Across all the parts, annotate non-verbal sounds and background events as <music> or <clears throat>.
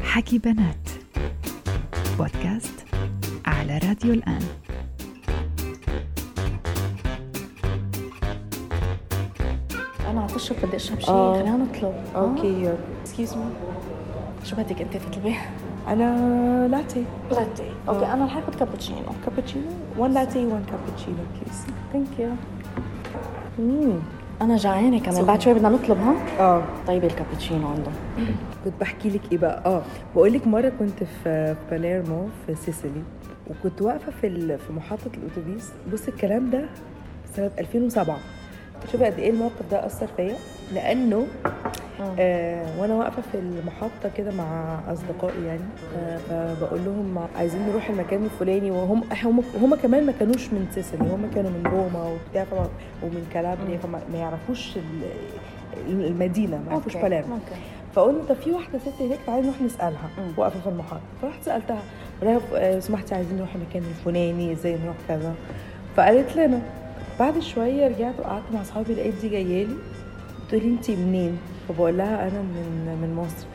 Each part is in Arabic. حكي بنات بودكاست على راديو الآن انا عطشت بدي اشرب إيه شيء آه. خلينا نطلب اوكي يلا اكسكيوز مي شو بدك انت تطلبي؟ انا لاتيه آه. لاتيه اوكي انا رح اخذ كابتشينو كابتشينو 1 لاتيه 1 كابتشينو بليز ثانك يو امم انا جعانه كمان صح. بعد شوي بدنا نطلب ها اه طيب الكابتشينو عندهم كنت بحكي لك ايه بقى اه بقول لك مره كنت في باليرمو في سيسيلي وكنت واقفه في ال- في محطه الاتوبيس بص الكلام ده سنه 2007 شوفي قد ايه الموقف ده اثر فيا لانه آه وانا واقفه في المحطه كده مع اصدقائي يعني ف- فبقول لهم عايزين نروح المكان الفلاني وهم هم هم كمان ما كانوش من سيسيلي هم كانوا من روما وبتاع فما- ومن كالابريا فما ما يعرفوش ال- المدينه ما يعرفوش أوكي. باليرمو أوكي. فقلنا طب في واحده ست هناك تعالي نروح نسالها مم. واقفه في المحطه فرحت سالتها قلت لها آه، لو سمحتي عايزين نروح المكان الفلاني ازاي نروح كذا فقالت لنا بعد شويه رجعت وقعدت مع اصحابي لقيت دي جايه لي بتقولي انت منين فبقول لها انا من من مصر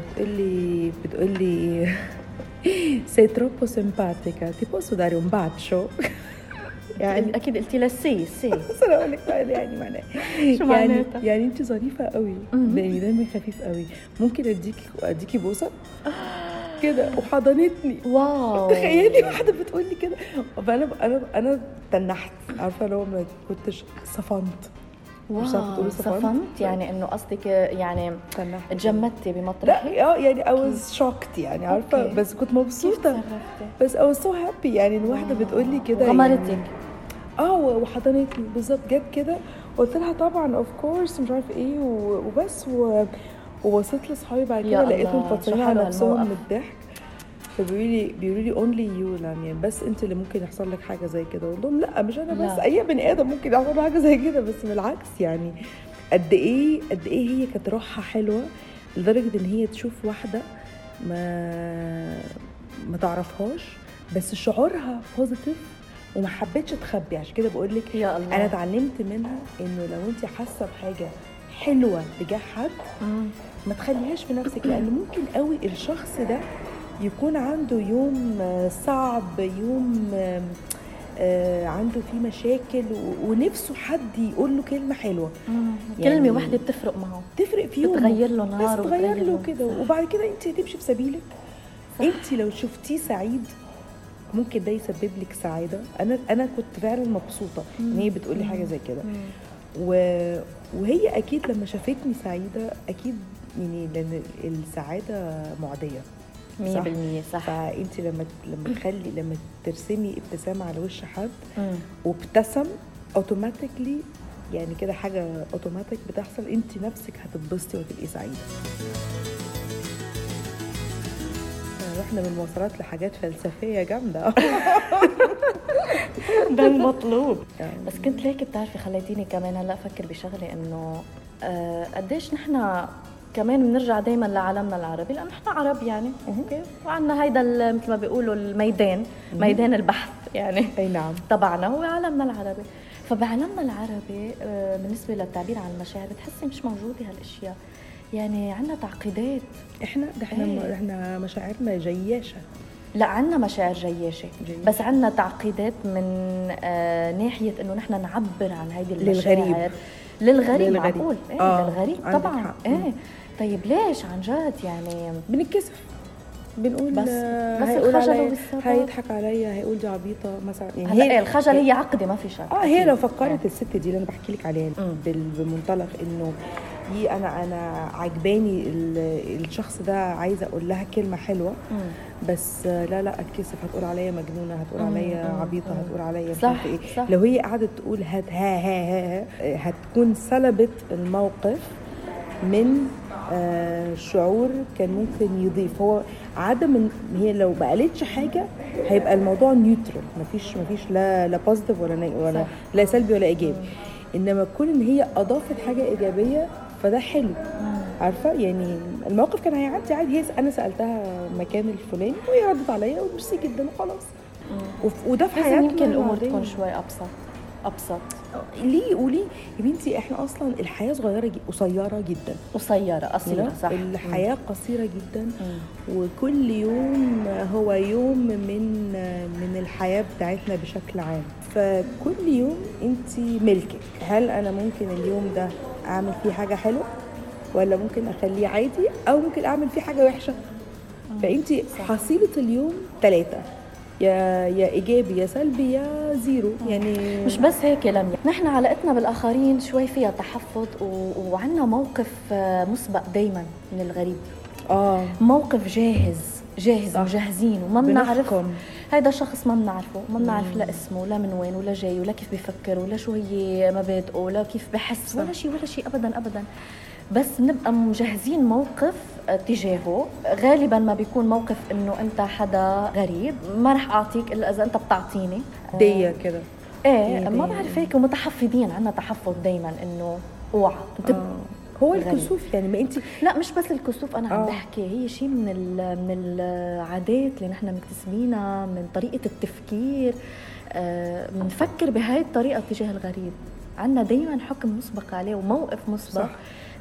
فبتقولي بتقولي <laughs> سي تروبو سيمباتيكا تي بوسو داري un <laughs> bacio يعني اكيد قلتي لها سي سي بس انا اقول لك بقى يعني معناه شو يعني معناتها؟ يعني انت ظريفه قوي مهم. يعني دمك خفيف قوي ممكن اديكي اديكي بوسه آه. كده وحضنتني <laughs> واو تخيلي واحده بتقول لي كده فانا انا انا تنحت عارفه لو ما كنتش صفنت مش عارفة واو تقولي صفنت؟ صفنت يعني انه قصدك يعني تنحت تجمدتي بمطرح لا اه يعني اي واز شوكت يعني عارفه أوكي. بس كنت كيف مبسوطه تصرفتي؟ بس اي واز سو هابي يعني الواحده بتقول لي كده يعني- غمرتك اه وحضنتني بالظبط جت كده قلت لها طبعا اوف كورس مش عارف ايه و- وبس و... وبصيت لاصحابي بعد يا كده لقيتهم الله، شو حلو فاطرين على نفسهم من الموقف. الضحك فبيقولوا لي بيقولوا لي اونلي يو يعني بس انت اللي ممكن يحصل لك حاجه زي كده قلت لهم لا مش انا لا. بس اي بني ادم ممكن يحصل له حاجه زي كده بس بالعكس يعني قد ايه قد ايه هي كانت روحها حلوه لدرجه ان هي تشوف واحده ما ما تعرفهاش بس شعورها بوزيتيف وما حبيتش تخبي عشان كده بقول لك يا الله انا اتعلمت منها انه لو انت حاسه بحاجه حلوه تجاه حد مم. ما تخليهاش في نفسك لان ممكن قوي الشخص ده يكون عنده يوم آه، صعب يوم آه، آه، عنده فيه مشاكل و- ونفسه حد يقول له كلمه حلوه مم. يعني- كلمه واحده بتفرق معه تفرق في يومه بتغير له نهار بس تغير له وبتغير كده وبعد كده انت هتمشي في سبيلك انت لو شفتيه سعيد ممكن ده يسبب لك سعاده انا انا كنت فعلا مبسوطه ان هي بتقول لي حاجه زي كده مم. و... وهي اكيد لما شافتني سعيده اكيد يعني لان السعاده معديه مية صح. بالمية صح فانت لما لما تخلي لما ترسمي ابتسامه على وش حد مم. وابتسم اوتوماتيكلي يعني كده حاجه اوتوماتيك بتحصل انت نفسك هتتبسطي وتبقي سعيده رحنا آه، من مواصلات لحاجات فلسفيه جامده <laughs> ده المطلوب يعني بس كنت ليك بتعرفي خليتيني كمان هلا افكر بشغله انه آه، قديش نحن كمان بنرجع دائما لعالمنا العربي لانه نحن عرب يعني اوكي وعندنا هيدا ال- مثل ما بيقولوا الميدان ميدان البحث يعني <laughs> اي نعم تبعنا هو عالمنا العربي فبعالمنا العربي آه، بالنسبه للتعبير عن المشاعر بتحسي مش موجوده هالاشياء يعني عندنا تعقيدات احنا ده احنا إيه. احنا مشاعرنا جياشه لا عنا مشاعر جياشة جياشة. بس عنا تعقيدات من آه ناحية انه نحن نعبر عن هيدي المشاعر للغريب. للغريب للغريب. معقول ايه آه، للغريب عندك طبعا حق. ايه طيب ليش عن جد يعني بنتكسف بنقول بس- آه، بس هيقول الخجل عليا- والسبب. هيضحك عليا هيقول دي عبيطه مثلا يعني هلا إيه الخجل هي عقدة ما في شك اه هي لو أكيد. أه. فكرت الست دي اللي انا بحكي لك عليها مم. بال- بمنطلق انه هي انا انا عجباني ال- الشخص ده عايزه اقول لها كلمه حلوه مم. بس آه، لا لا اتكسف هتقول عليا مجنونه هتقول مم، عليا مم، عبيطه مم. هتقول عليا مش أه. صح، عارفة ايه صح. لو هي قعدت تقول هات ها ها ها, ها آه، هتكون سلبت الموقف من آه، شعور كان ممكن يضيف هو عدم إن- هي لو ما قالتش حاجه هيبقى الموضوع نيوترال مفيش مفيش لا لا بوزيتيف ولا ني- ولا صح. لا سلبي ولا ايجابي انما تكون ان هي اضافت حاجه ايجابيه فده حلو عارفه يعني الموقف كان هيعدي عادي هي انا سالتها مكان الفلاني وهي ردت عليا وميرسي جدا وخلاص مم. وف- وده في لازم حياتنا يمكن الامور العادية. تكون شوي ابسط ابسط ليه قولي يا بنتي احنا اصلا الحياه صغيره جي- إيه قصيره جدا قصيره قصيره صح الحياه قصيره جدا وكل يوم هو يوم من من الحياه بتاعتنا بشكل عام فكل يوم انت ملكك هل انا ممكن اليوم ده اعمل فيه حاجه حلوه ولا ممكن اخليه عادي او ممكن اعمل فيه حاجه وحشه فانت حصيله اليوم ثلاثه يا يا ايجابي يا سلبي يا زيرو يعني مش بس هيك يا لميا نحن علاقتنا بالاخرين شوي فيها تحفظ و... وعندنا موقف آه، مسبق دائما من الغريب اه موقف جاهز جاهز صح. وجاهزين وما بنعرف بنحكم. هيدا شخص ما بنعرفه ما بنعرف لا اسمه لا من وين ولا جاي ولا كيف بيفكر ولا شو هي مبادئه ولا كيف بحس صح. ولا شيء ولا شيء ابدا ابدا بس بنبقى مجهزين موقف آه، تجاهه غالبا ما بيكون موقف انه انت حدا غريب ما رح اعطيك الا اذا انت بتعطيني آه، ديه كده ايه إيه. ما بعرف هيك ومتحفظين عنا تحفظ دايما انه اوعى تب... آه. هو غريب. الكسوف يعني ما انت لا مش بس الكسوف انا آه. عم بحكي هي شيء من ال... من العادات اللي نحن مكتسبينها من طريقه التفكير آه، بنفكر بهاي الطريقه تجاه الغريب عنا دايما حكم مسبق عليه وموقف مسبق صح.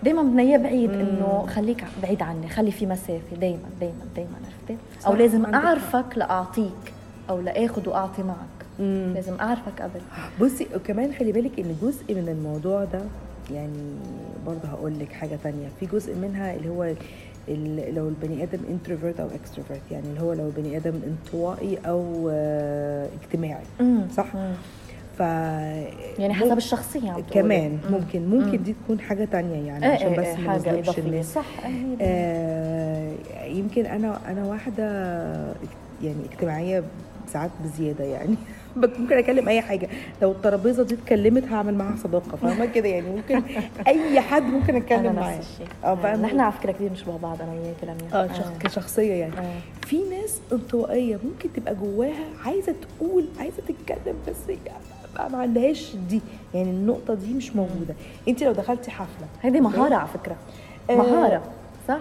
دايما بدنا اياه بعيد مم. انه خليك بعيد عني خلي في مسافه دايما دايما دايما عرفتي صح، او لازم عندك حق. اعرفك لاعطيك او لاخذ واعطي معك لازم اعرفك قبل بصي وكمان خلي بالك ان جزء من الموضوع ده يعني برضه هقول لك حاجه تانية في جزء منها اللي هو ال- لو البني ادم انتروفيرت او اكستروفيرت يعني اللي هو لو البني ادم انطوائي او آه، اجتماعي مم. صح؟ مم. ف يعني مم- حسب الشخصيه عم تقولي. كمان مم. ممكن ممكن مم. دي تكون حاجه تانية يعني إيه عشان إيه بس إيه، ما حاجه نظلمش اضافيه الناس صح أكيد. آه، يمكن انا انا واحده اك- يعني اجتماعيه ساعات بزياده يعني <laughs> بك- ممكن اكلم اي حاجه لو الترابيزه دي اتكلمت هعمل معاها صداقه فاهمه كده يعني <laughs> ممكن اي حد ممكن اتكلم انا معاه نفس الشيء يعني اه فاهمة؟ نحن على فكره كثير بنشبه بعض انا وياك لميا اه شخ- كشخصيه يعني آه. في ناس انطوائيه ممكن تبقى جواها عايزه تقول عايزه تتكلم بس هي بقى ما عندهاش دي يعني النقطه دي مش موجوده انت لو دخلتي حفله هيدي مهاره على فكره آه. مهاره صح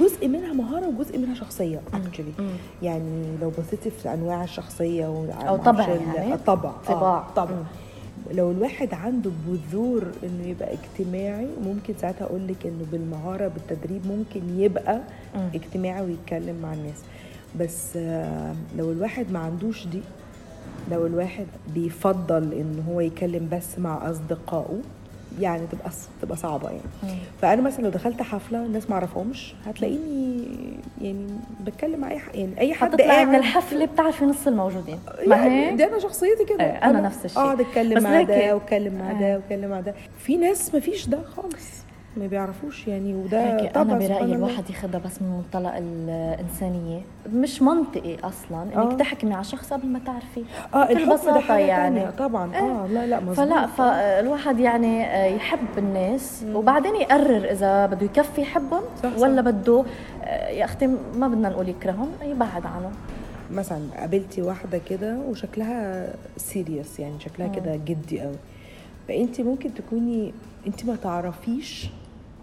جزء منها مهاره وجزء منها شخصيه اكشلي مم. يعني لو بصيتي في انواع الشخصيه وع- أو طبع معرفش ال- يعني؟ طبع طباع. آه طبع مم. لو الواحد عنده بذور انه يبقى اجتماعي ممكن ساعتها اقول لك انه بالمهاره بالتدريب ممكن يبقى مم. اجتماعي ويتكلم مع الناس بس آه، لو الواحد ما عندوش دي لو الواحد بيفضل ان هو يتكلم بس مع اصدقائه يعني تبقى تبقى صعبه يعني فانا مثلا لو دخلت حفله الناس ما اعرفهمش هتلاقيني يعني بتكلم مع اي حد يعني اي حد حتطلعي من قاعد الحفله بتعرفي نص الموجودين ما يعني هيك دي انا شخصيتي كده آه، أنا نفس الشيء. اقعد بس اتكلم مع لكن- ده واتكلم مع آه. ده واتكلم مع ده في ناس ما فيش ده خالص ما بيعرفوش يعني وده لكن انا طبعا سبحان برايي الله. الواحد ياخذها بس من منطلق الانسانيه مش منطقي اصلا آه. انك تحكمي على شخص قبل ما تعرفي اه بكل الحكم ده بساطة حاجه يعني. يعني طبعا اه لا لا مظبوط فلا فالواحد يعني آه، يحب الناس وبعدين يقرر اذا بده يكفي يحبهم صح، صح. ولا بده آه، يا اختي ما بدنا نقول يكرههم يبعد عنهم مثلا قابلتي واحده كده وشكلها سيريس يعني شكلها اه. كده جدي قوي فانت ممكن تكوني انت ما تعرفيش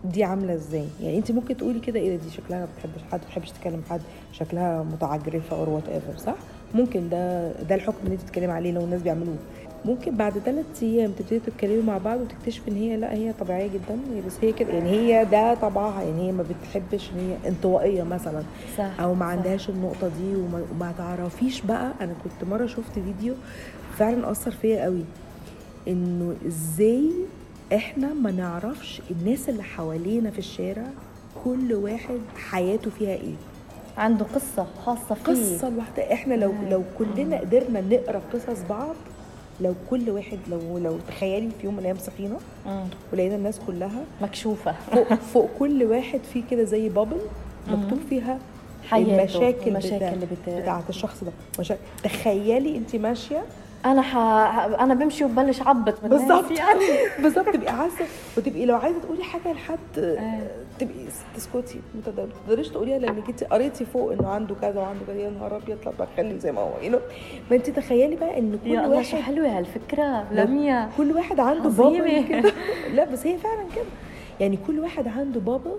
دي عامله ازاي يعني انت ممكن تقولي كده ايه ده، دي شكلها ما بتحبش حد ما بتحبش تكلم حد شكلها متعجرفه اور وات ايفر صح ممكن ده ده الحكم اللي انت بتتكلمي عليه لو الناس بيعملوه ممكن بعد ثلاث ايام تبتدي تتكلموا مع بعض وتكتشف ان هي لا هي طبيعيه جدا هي بس هي كده يعني هي ده طبعها يعني هي ما بتحبش ان هي انطوائيه مثلا صح، او ما صح. عندهاش عندهاش النقطه دي وما, وما تعرفيش بقى انا كنت مره شفت فيديو فعلا اثر فيا قوي انه ازاي احنا ما نعرفش الناس اللي حوالينا في الشارع كل واحد حياته فيها ايه عنده قصه خاصه فيه قصه لوحدها احنا لو لو كلنا قدرنا نقرا قصص بعض لو كل واحد لو لو تخيلي في يوم من الايام صحينا مم. ولقينا الناس كلها مكشوفه فوق فوق كل واحد فيه كده زي بابل مكتوب فيها حياته، المشاكل المشاكل بتاع- اللي بت- بتاعه الشخص ده مشاكل. تخيلي انت ماشيه انا ح... انا بمشي وببلش عبط بالناس بالظبط <laughs> يعني بالظبط تبقي عايزه وتبقي لو عايزه تقولي حاجه لحد آه. تبقي تسكتي ما تقدر- ما تقدريش تقوليها لانك انت قريتي فوق انه عنده كذا وعنده كذا يا نهار ابيض لا بقى خلي زي ما هو you know. ما انت تخيلي بقى ان كل يا الله شو واحد يعني حلوه هالفكره لو لميا كل واحد عنده عظيمة. بابل <laughs> كده لا بس هي فعلا كده يعني كل واحد عنده بابل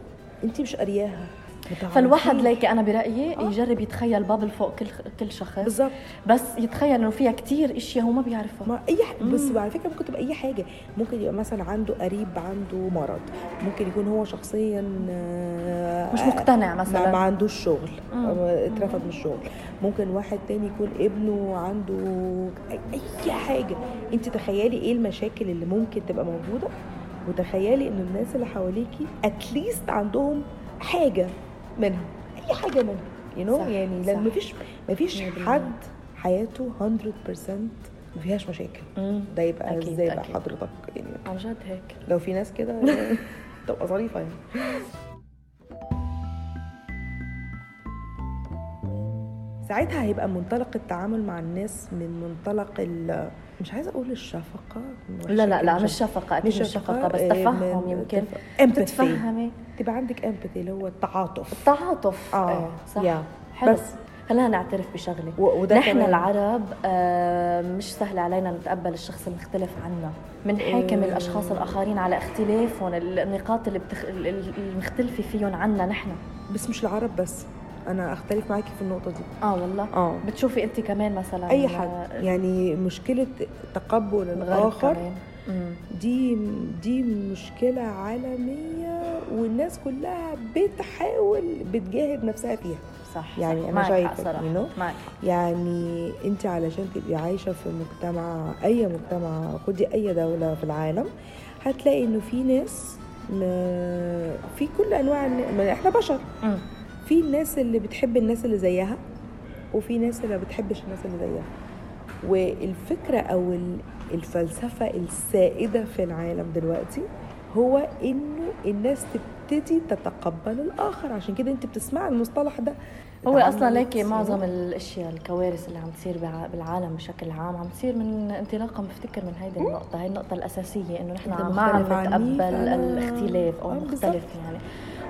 انت مش قارياها متعرفين. فالواحد ليك انا برايي آه. يجرب يتخيل بابل فوق كل كل شخص بالظبط بس يتخيل انه فيها كتير اشياء هو ما بيعرفها ما اي ح... بس على فكره ممكن تبقى اي حاجه ممكن يبقى مثلا عنده قريب عنده مرض ممكن يكون هو شخصيا آه، مش مقتنع ما, ما مثلا عندوش شغل مم. أو اترفض من الشغل ممكن واحد تاني يكون ابنه عنده أي- اي حاجه انت تخيلي ايه المشاكل اللي ممكن تبقى موجوده وتخيلي ان الناس اللي حواليكي اتليست عندهم حاجه منها اي حاجه منها يو you know? صح، يعني صح. لان مفيش مفيش 100%. حد حياته 100% ما فيهاش مشاكل مم. ده يبقى أكيد، ازاي بقى أكيد. حضرتك يعني عن جد هيك لو في ناس <laughs> كده يعني تبقى ظريفه يعني ساعتها هيبقى منطلق التعامل مع الناس من منطلق ال مش عايزه اقول الشفقه لا لا لا مش شفقه اكيد مش شفقه بس إيه، تفهم يمكن امباثي تتفهمي تبقى عندك امباثي اللي هو التعاطف التعاطف إيه، صح آه، يا. حلو بس خلينا نعترف بشغله و- وده نحن كمان. العرب آه، مش سهل علينا نتقبل الشخص المختلف عنا بنحاكم إيه. الاشخاص الاخرين على اختلافهم النقاط اللي بتخ... ال- ال- المختلفه فيهم عنا نحن بس مش العرب بس انا اختلف معاكي في النقطه دي اه والله اه بتشوفي انت كمان مثلا اي آه، حد يعني مشكله تقبل الغرب الاخر كمان. مم. دي دي مشكلة عالمية والناس كلها بتحاول بتجاهد نفسها فيها صح يعني صح. أنا معك حق شايفة، صراحة. you know؟ معك حق. يعني انت علشان تبقي عايشة في مجتمع أي مجتمع خدي أي دولة في العالم هتلاقي إنه في ناس ما- في كل أنواع الن- ما إحنا بشر مم. في الناس اللي بتحب الناس اللي زيها وفي ناس اللي ما بتحبش الناس اللي زيها والفكرة أو ال- الفلسفة السائدة في العالم دلوقتي هو إنه الناس تبتدي تتقبل الآخر عشان كده أنت بتسمع المصطلح ده هو تعامل اصلا ليكي نفسي. معظم الاشياء الكوارث اللي عم تصير بع- بالعالم بشكل عام عم تصير من انطلاقا بفتكر من هيدي النقطه هي النقطه الاساسيه انه نحن إذا ما عم مختلف عني نتقبل فأنا- الاختلاف او آه، مختلف يعني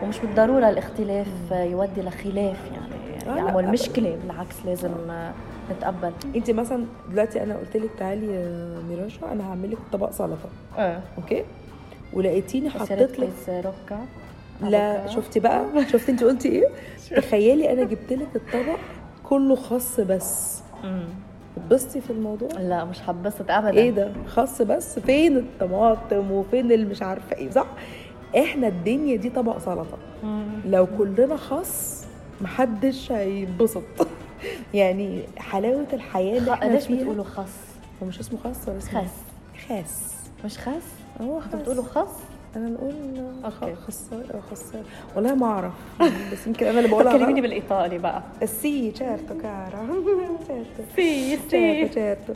ومش بالضروره الاختلاف يودي لخلاف آه، لا، يعني يعمل أبداً. مشكله بالعكس لازم آه، نتقبل أنت مثلا دلوقتي أنا قلت لك تعالي يا ميراشا أنا هعمل لك طبق سلطة اه أوكي ولقيتيني آه، حطيت لك روكا لا أبوكا. شفتي بقى <laughs> شفتي انت قلتي ايه تخيلي انا جبت لك الطبق كله خاص بس مم. اتبسطي في الموضوع لا مش حبست ابدا ايه ده خاص بس فين الطماطم وفين اللي مش عارفه ايه صح احنا الدنيا دي طبق سلطه مم. لو كلنا خاص محدش هيتبسط <laughs> يعني حلاوه الحياه اللي احنا ليش فيها- بتقولوا خص هو مش اسمه خاص ولا اسمه إيه؟ خس خاص مش خس هو انتوا خاص. بتقولوا خص انا نقول اوكي. خسار خسار والله <laughs> ما اعرف بس يمكن انا اللي بقولها غلط. كلميني بالايطالي بقى السي certo cara <laughs> certo سي certo certo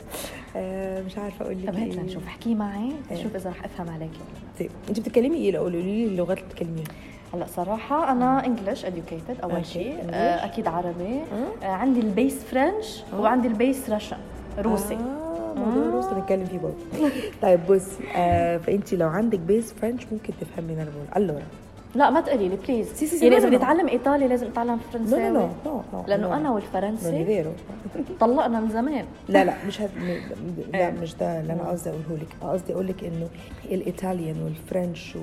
آه، مش عارفه اقول لك طب هات إيه. لنشوف احكي معي إيه. شوف اذا رح افهم عليكي طيب انت بتتكلمي ايه لو قولي لي اللغات اللي بتتكلميها هلا صراحة أنا انجلش educated أوكي، أول شيء آه. English. آه، أكيد عربي آه. آه، عندي البيس فرنش آه. وعندي البيس رشا روسي آه، موضوع آه. روسي نتكلم فيه برضه طيب بصي آه فانت لو عندك بيس فرنش ممكن تفهمي اللي انا بقوله allora لا ما تقولي لي بليز سي، سي، سي، يعني لا، إذا لا، بدي لا. أتعلم إيطالي لازم أتعلم نو نو نو فرنساوي نو نو لانه انا نوني والفرنسي فيرو طلقنا من زمان لا لا مش هد... م- لا آه. مش ده اللي انا قصدي اقوله لك أنا قصدي اقول لك انه الايطاليان والفرنش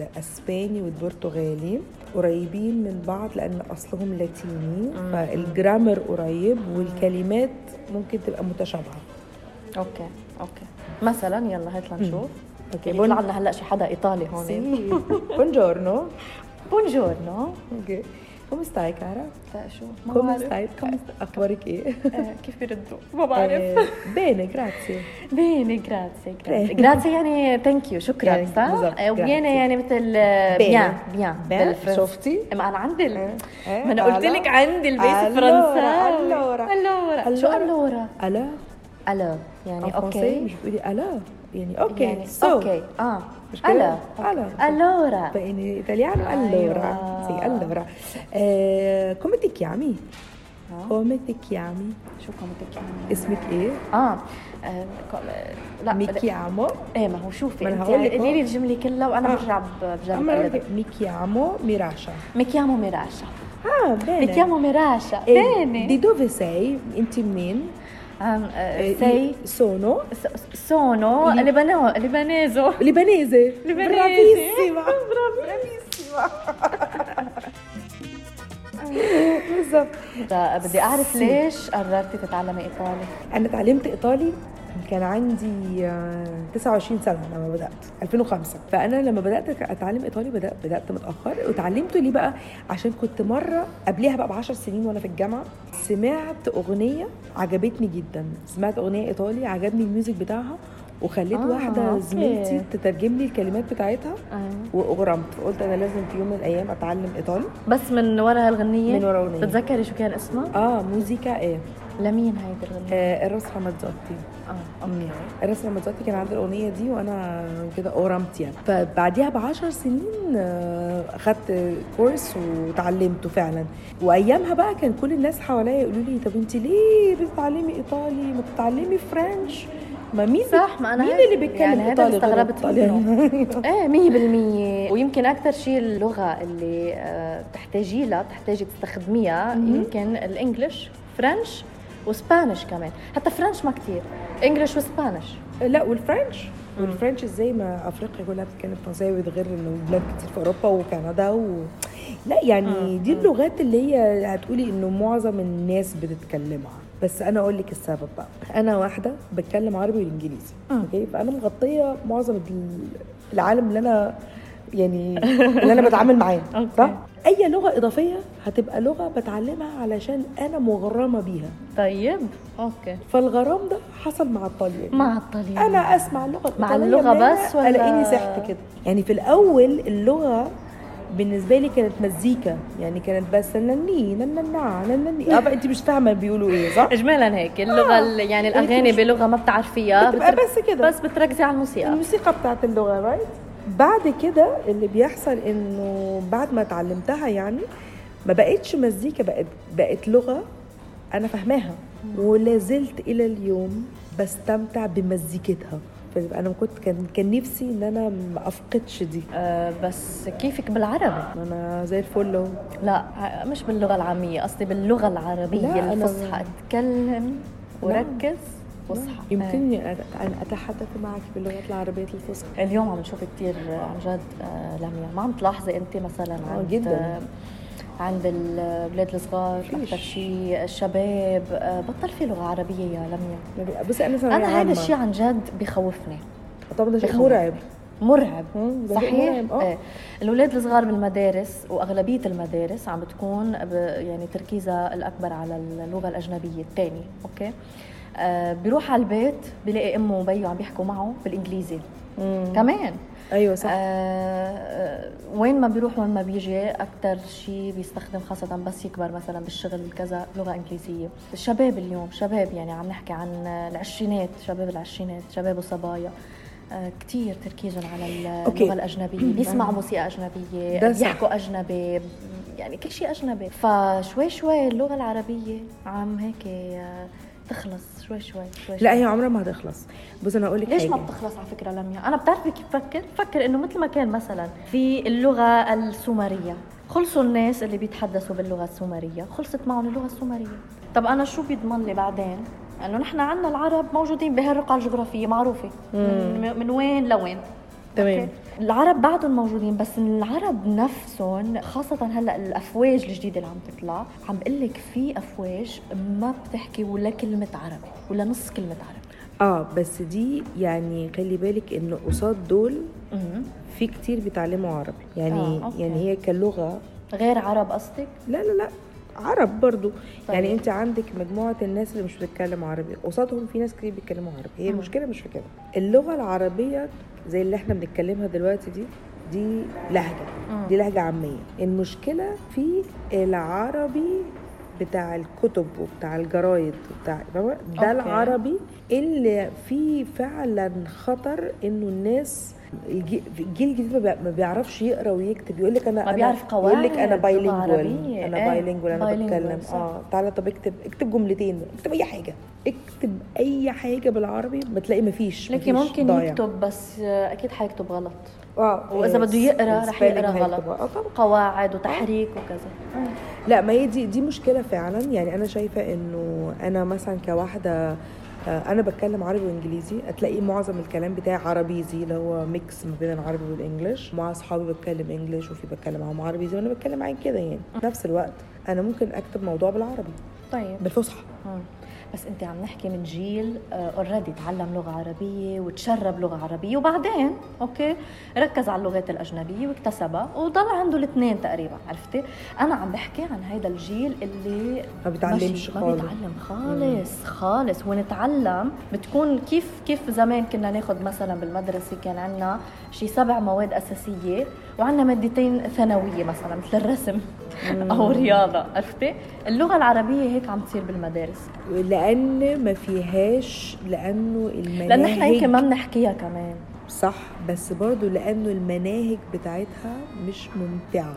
والاسباني والبرتغالي قريبين من بعض لان اصلهم لاتيني مم. فالجرامر قريب والكلمات ممكن تبقى متشابهه اوكي اوكي مثلا يلا هات لنشوف اوكي يطلع لنا هلا شي حدا ايطالي هون بونجورنو بونجورنو اوكي كوم ستاي كارا لا، شو ما كوم بعرف. ستاي اخبارك ايه آه، كيف بيردوا ما بعرف آه، بيني جراتسي بيني جراتسي جراتسي جراتسي يعني ثانك يو شكرا يعني صح؟ بالضبط، آه، وبيانا grazie. يعني مثل بيان بيان. بيان بيان، بالفرنسي شفتي ما انا عندي ال- إيه، ما انا قلت ألو. لك عندي البيت ألورا، فرنساوي ألورا. الورا شو ألورا. الورا؟ الو الو يعني يعني اوكي مش اوكي بتقولي الو يعني اوكي يعني so. اوكي اه مش كده؟ الو ألو. الورا Bene, italiano allora. Aiuto. Sì, allora. Eh, come ti chiami? آه. Come ti chiami? شو كنت يعني اسمك ايه؟ اه آه، ك- لا Mi لا. chiamo. ايه ما هو شوفي ما أنا انت هقول لك قولي أهو. لي الجمله كلها وانا آه. برجع ب- بجرب Allora, اقلدك mi chiamo Mirasha. مكيامو ميراشا Ah, bene. مكيامو ميراشا E بيني di dove sei? Inti min? عم آه، Eh, سي i- Sono س- سونو لي- لبنانو لبنانيزو libanese. <laughs> Libanese. Bravissima. Bravissima. بالظبط بدي- بدي اعرف ليش قررتي تتعلمي ايطالي انا اتعلمت ايطالي كان عندي آه، 29 سنه لما بدات 2005 فانا لما بدات اتعلم ايطالي بدات بدات متاخر وتعلمته ليه بقى عشان كنت مره قبلها بقى ب 10 سنين وانا في الجامعه سمعت اغنيه عجبتني جدا سمعت اغنيه ايطالي عجبني الميوزك بتاعها وخليت آه، آه واحده أوكي. زميلتي تترجم لي الكلمات بتاعتها واغرمت فقلت انا لازم في يوم من الايام اتعلم ايطالي بس من ورا هالغنيه من ورا اغنيه بتتذكري شو كان اسمها؟ اه موزيكا ايه لمين هيدي الغنيه؟ آه الرسمه متزقطي اه اوكي الرسمة متزوجتي كان عندي الأغنية دي وأنا كده أورمت يعني فبعديها بعشر سنين آه، أخدت كورس وتعلمته فعلا وأيامها بقى كان كل الناس حواليا يقولوا لي طب أنت ليه بتتعلمي إيطالي ما بتتعلمي فرنش ما مين صح ما انا مين هيك- اللي بيتكلم يعني هذا إيطالي اللي غير استغربت إيطاليا؟ منه <laughs> ايه مية بالمية ويمكن أكثر شيء اللغة اللي آه، بتحتاجي لها بتحتاجي تستخدميها مهم. يمكن الإنجليش فرنش وسبانش كمان حتى فرنش ما كتير إنجليش وسبانش آه، لا والفرنش والفرنش ازاي ما افريقيا كلها بتتكلم فرنساوي ده غير انه بلاد كتير في اوروبا وكندا و... لا يعني دي اللغات اللي هي هتقولي انه معظم الناس بتتكلمها بس انا اقول لك السبب بقى انا واحده بتكلم عربي والانجليزي اوكي فانا مغطيه معظم ال- العالم اللي انا يعني اللي انا بتعامل معاه أوكي. صح اي لغه اضافيه هتبقى لغه بتعلمها علشان انا مغرمه بيها طيب أوكي فالغرام ده حصل مع الطالب مع الطليان انا اسمع اللغه مع الإيطالية اللغة منها بس ولا- الاقيني سحت كده يعني في الاول اللغه بالنسبه لي كانت مزيكا يعني كانت بس نني نننا ننني اه بقى انت مش فاهمه بيقولوا ايه <laughs> صح إجمالا هيك اللغة ال- يعني الأغاني آه. إيه، مش- بلغة ما بتعرفيها بتبقى بتر- بس كده بس بتركزي على الموسيقى الموسيقى بتاعت اللغه رايت بعد كده اللي بيحصل انه بعد ما اتعلمتها يعني ما بقتش مزيكا بقت بقت لغه انا فاهماها ولا زلت الى اليوم بستمتع بمزيكتها فانا ما كنت كان كان نفسي ان انا ما افقدش دي أه بس كيفك بالعربي؟ ما انا زي الفل اهو لا آه، مش باللغة العامية قصدي باللغة لا، العربية أنا- الفصحى اتكلم وركز واصحى يمكنني أت- ان اتحدث معك باللغات العربيه الفصحى آه. اليوم عم نشوف كثير عن جد آه، لميا ما عم تلاحظي انت مثلا آه، عند جداً. آه، عند البلاد الصغار فيش. اكثر شيء الشباب آه، بطل في لغة عربية يا لميا بصي انا ثانوية انا هذا عامة. الشيء عن جد بخوفني طبعا ده شيء بخوف. مرعب مرعب مم، ده شيء صحيح مرعب، آه. آه. الاولاد الصغار بالمدارس واغلبيه المدارس عم بتكون ب... يعني تركيزها الاكبر على اللغه الاجنبيه الثانيه اوكي آه بيروح على البيت بلاقي امه وبيه عم بيحكوا معه بالانجليزي مم. كمان ايوه صح آه وين ما بيروح وين ما بيجي اكثر شيء بيستخدم خاصه بس يكبر مثلا بالشغل كذا لغه انجليزيه الشباب اليوم شباب يعني عم نحكي عن العشرينات شباب العشرينات شباب وصبايا آه كتير تركيزهم على أوكي. اللغه الاجنبيه بيسمعوا موسيقى اجنبيه ده صح. بيحكوا اجنبي يعني كل شيء اجنبي فشوي شوي اللغه العربيه عم هيك آه، تخلص شوي شوي شوي لا هي عمرها ما هتخلص بصي انا اقول لك ليش ما بتخلص على فكره لميا؟ انا بتعرفي كيف بفكر؟ بفكر انه مثل ما كان مثلا في اللغه السومريه، خلصوا الناس اللي بيتحدثوا باللغه السومريه، خلصت معهم اللغه السومريه. طب انا شو بيضمن لي بعدين؟ انه نحن عندنا العرب موجودين بهالرقعه الجغرافيه معروفه من, من وين لوين تمام. أوكي؟ العرب بعدهم موجودين بس العرب نفسهم خاصة هلا الافواج الجديدة اللي عم تطلع عم بقول لك في افواج ما بتحكي ولا كلمة عربي ولا نص كلمة عربي. اه بس دي يعني خلي بالك ان قصاد دول في كتير بيتعلموا عربي يعني آه، آه، أوكي. يعني هي كلغه غير عرب قصدك؟ لا لا لا عرب برضو طيب. يعني انت عندك مجموعه الناس اللي مش بتتكلم عربي قصادهم في ناس كتير بيتكلموا عربي هي مم. المشكله مش في كده اللغه العربيه زي اللي احنا بنتكلمها دلوقتي دي دي لهجه مم. دي لهجه عاميه المشكله في العربي بتاع الكتب وبتاع الجرايد وبتاع فاهمة؟ ده أوكي. العربي اللي فيه فعلا خطر انه الناس الجي- الجيل الجديد ما بي- ما بيعرفش يقرا ويكتب يقول لك انا ما بيعرف أنا- يقول لك انا قواعد لغة بايلينجوال عربية. انا إيه، بايلينجوال انا bilingual، بتكلم صح. اه تعالى طب اكتب اكتب جملتين اكتب اي حاجه اكتب اي حاجه بالعربي بتلاقي مفيش لكن مفيش ممكن ضايع. يكتب بس آه، اكيد حيكتب غلط اه وإذا بده يقرأ رح spelling يقرأ هيكتب. غلط. آه، طبعا قواعد وتحريك وكذا لا ما هي دي دي مشكله فعلا يعني انا شايفه انه انا مثلا كواحده آه، انا بتكلم عربي وانجليزي هتلاقي معظم الكلام بتاعي عربيزي اللي هو ميكس ما بين العربي والانجليش مع اصحابي بتكلم انجليش وفي بتكلم معاهم عربيزي وانا بتكلم معاك كده يعني في نفس الوقت انا ممكن اكتب موضوع بالعربي طيب بالفصحى مم. بس انت عم نحكي من جيل اوريدي تعلم لغه عربيه وتشرب لغه عربيه وبعدين اوكي ركز على اللغات الاجنبيه واكتسبها وضل عنده الاثنين تقريبا عرفتي انا عم بحكي عن هيدا الجيل اللي ما بتعلمش ماشي، ما خالص بيتعلم نعم، خالص خالص ونتعلم بتكون كيف كيف زمان كنا ناخذ مثلا بالمدرسه كان عندنا شي سبع مواد اساسيه وعندنا مادتين ثانويه مثلا مثل الرسم او رياضه عرفتي اللغه العربيه هيك عم تصير بالمدارس لان ما فيهاش لانه المناهج لان احنا يمكن ما بنحكيها كمان صح بس برضو لانه المناهج بتاعتها مش ممتعه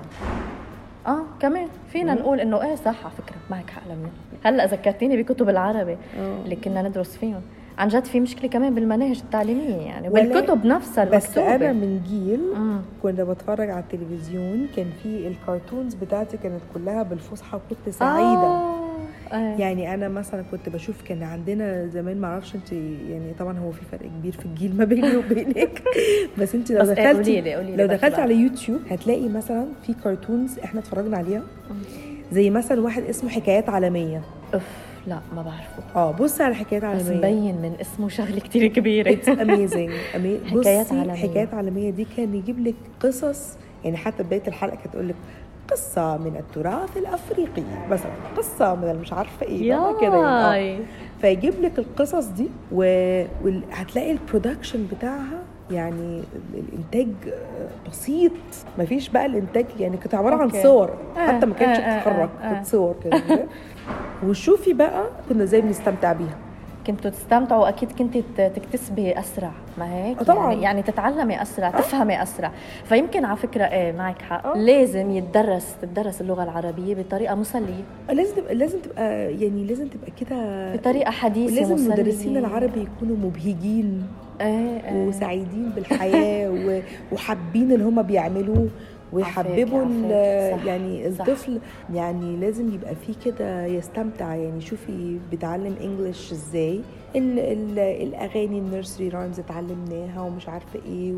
اه كمان فينا مم. نقول انه ايه صح على فكره معك حق لمياء هلا ذكرتيني بكتب العربي آه. اللي كنا ندرس فيهم عن جد في مشكله كمان بالمناهج التعليميه يعني ولا- والكتب نفسها بس المكتوبه انا من جيل مم. كنا بتفرج على التلفزيون كان في الكرتونز بتاعتي كانت كلها بالفصحى وكنت سعيده آه. يعني انا مثلا كنت بشوف كان عندنا زمان ما اعرفش انت يعني طبعا هو في فرق كبير في الجيل ما بيني <laughs> وبينك بس انت لو بس إيه، قولي دخلتي لي قولي لي لو بس دخلتي بقى. على يوتيوب هتلاقي مثلا في كرتونز احنا اتفرجنا عليها زي مثلا واحد اسمه حكايات عالميه اوف لا ما بعرفه اه بصي على حكايات بس عالميه مبين من اسمه شغله كتير كبيره اتس اميزنج حكايات عالمية. حكايات عالميه دي كان يجيب لك قصص يعني حتى بدايه الحلقه كانت تقول لك قصه من التراث الافريقي مثلا قصه من مش عارفه ايه بقى كده يعني. آه. ياي. فيجيب لك القصص دي و... وهتلاقي البرودكشن بتاعها يعني ال- الانتاج آه، بسيط مفيش بقى الانتاج يعني كانت عباره عن أوكي. صور آه، حتى ما كانتش آه، آه، بتتحرك آه، آه. كانت صور كده وشوفي بقى كنا ازاي بنستمتع بيها كنتوا تستمتعوا اكيد كنت ت- تكتسبي اسرع ما هيك آه، طبعاً. يعني, يعني تتعلمي اسرع تفهمي اسرع فيمكن على فكره ايه معك آه. حق لازم يتدرس تدرس اللغه العربيه بطريقه مسليه لازم تبقى لازم تبقى يعني لازم تبقى كده بطريقه حديثه ولازم مسلية. المدرسين العربي يكونوا مبهجين ايه ايه وسعيدين <laughs> بالحياه و- وحابين اللي هم بيعملوه ويحببوا ال- عافاك، صح، يعني صح. الطفل يعني لازم يبقى فيه كده يستمتع يعني شوفي بتعلم انجلش ازاي ان ال- الاغاني النيرسري رايمز اتعلمناها ومش عارفه ايه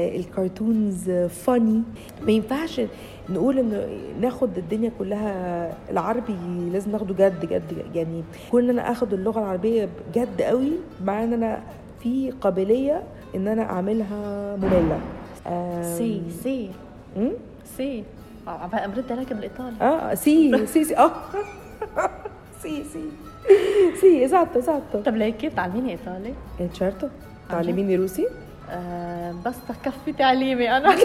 والكرتونز فاني ما ينفعش نقول ان ناخد الدنيا كلها العربي لازم ناخده جد جد يعني كون انا اخد اللغه العربيه جد قوي مع ان انا في قابليه ان انا اعملها ممله آم، سي سي مم؟ سي آه، بقى مرد راكب الايطالي اه سي سي سي اه <laughs> سي سي سي esatto esatto طب ليكي بتعلميني ايطالي الشارتو تعلميني روسي آه بس تكفي تعليمي انا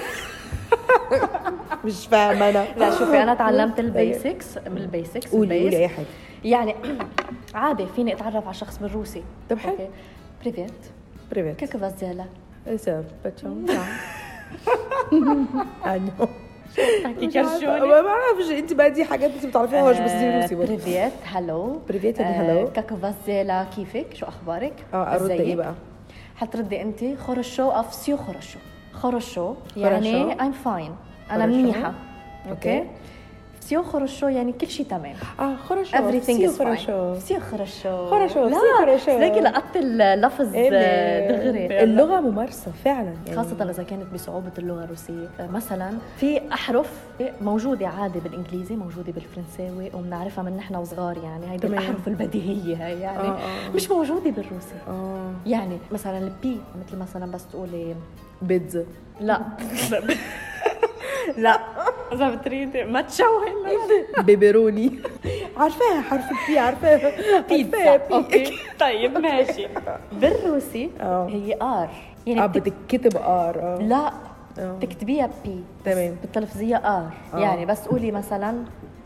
مش طيب. فاهمه انا لا شوفي انا تعلمت البيسكس بالبيسكس قولي قولي اي البيس حاجه يعني <clears throat> عادي فيني اتعرف على شخص بالروسي طب حلو. أوكي. بريفيت بريفيت كيف вас дела سيرف باتشون انا تحكي مش عارفة. ما بعرفش انت بقى دي حاجات انت بتعرفيهاش بس دي آه، روسي برضه بريفيت هلو بريفيت يعني هلو. آه، كيف вас дела كيفك شو اخبارك اه ارد ايه إزيك؟ بقى حتردي انت خرشو اف سيو خرشو خرشو يعني I'm fine انا خرشو. منيحه أوكي. اوكي سيو خرشو يعني كل شيء تمام اه خرشو everything is خرشو fine بصير خرشو خرشو، بصير خرشو. ليكي لقطت اللفظ آه، دغري اللغه ممارسه فعلا يعني خاصة إذا كانت بصعوبة اللغة الروسية آه، مثلا في أحرف موجودة عادي بالإنجليزي موجودة بالفرنساوي وبنعرفها من نحن وصغار يعني هيدي تمام. الأحرف البديهية هي يعني آه، آه. مش موجودة بالروسي اه يعني مثلا البي مثل مثلا بس تقولي بيتزا <laughs> لا لا إذا بتريدي ما تشوهي <laughs> بيبروني عارفاها حرف البي عارفاها بيتزا اوكي طيب ماشي بالروسي آه. هي ار يعني اه بتك... بتتكتب ار اه لا آه. تكتبيها بي تمام. بالتلفزية ار آه. يعني بس قولي مثلا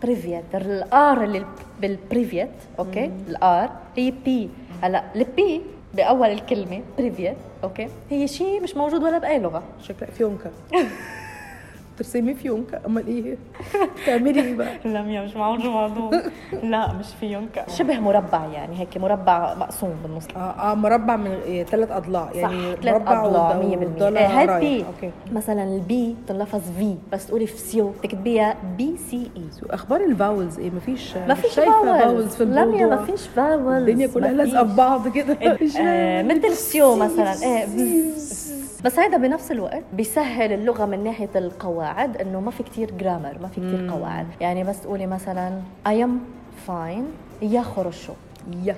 بريفيت الار اللي ب- بالبريفيت اوكي الار هي بي هلا البي باول الكلمه بريفيت اوكي هي شيء مش موجود ولا باي لغه شكلها <laughs> فيونكة ترسمي فيونكة امال ايه تعملي ايه <laughs> بقى لا ميا مش معقول موضوع لا مش في يونكا شبه مربع يعني هيك مربع مقسوم بالنص اه اه مربع من إيه ثلاث اضلاع يعني صح ثلاث اضلاع 100% آه، هاد بي اوكي مثلا البي تنلفظ في بس تقولي فسيو تكتبيها بي سي اي سو اخبار الفاولز ايه مفيش ما مش فيش شايفة فاولز vowels في لا الموضوع يا ما فيش فاولز <laughs> <laughs> آه. الدنيا كلها لازقه في بعض كده مش- <laughs> مثل سيو مثلا ايه آه، بز- بس هيدا بنفس الوقت بيسهل اللغه من ناحيه القواعد انه ما في كتير جرامر ما في كتير مم. قواعد يعني بس تقولي مثلا I am fine يا خرشو يا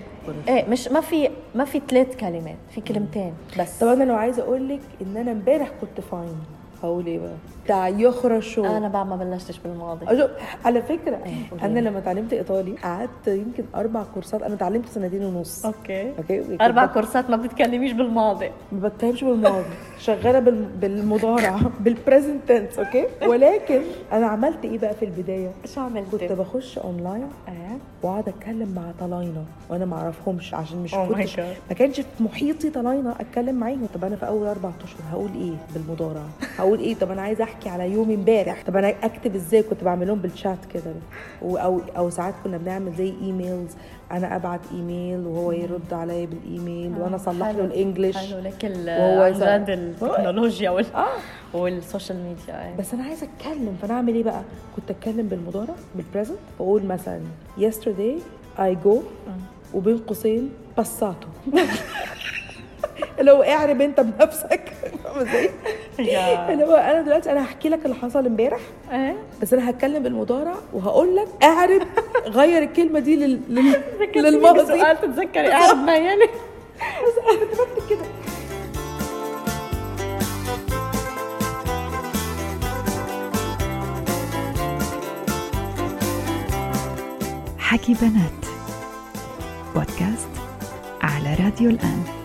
ايه مش ما في ما في ثلاث كلمات في كلمتين بس طب انا لو عايزه اقول لك ان انا امبارح كنت فاين هقول ايه بقى بتاع يخرشوا انا بعد ما بلشتش بالماضي أجو- على فكره إيه، قولي. انا لما اتعلمت ايطالي قعدت يمكن اربع كورسات انا اتعلمت سنتين ونص اوكي اوكي اربع كنت كورسات ما بتتكلميش بالماضي ما بتكلمش بالماضي شغاله بال... بالمضارع <laughs> بالبريزنت تنس اوكي ولكن انا عملت ايه بقى في البدايه شو عملتي؟ كنت بخش اونلاين ايه واقعد اتكلم مع طلاينه وانا ما اعرفهمش عشان مش Oh my كنتش God. ما كانش في محيطي طلاينه اتكلم معاهم طب انا في اول اربع اشهر هقول ايه بالمضارع <laughs> هقول ايه طب انا عايزه احكي على يومي امبارح طب انا اكتب ازاي كنت بعملهم بالشات كده و- او او ساعات كنا بنعمل زي ايميلز انا ابعت ايميل وهو يرد عليا بالايميل وانا اصلح آه. حلو. له الانجليش حلو لك وهو عن يسأل. جد التكنولوجيا وال... اه والسوشيال ميديا ايه بس انا عايزه اتكلم فانا اعمل ايه بقى كنت اتكلم بالمضارع بالبريزنت واقول مثلا yesterday I go وبين قوسين <laughs> بساته لو اعرب انت بنفسك <laughs> فاهمة إزاي؟ يا- اللي هو انا دلوقتي انا هحكي لك اللي حصل امبارح ايه بس انا هتكلم بالمضارع وهقول لك اعرب غير الكلمه دي لل... لل... للماضي للماضي سؤال تتذكري اعرف ما يلي بس انا كنت بكتب كده حكي بنات بودكاست على راديو الآن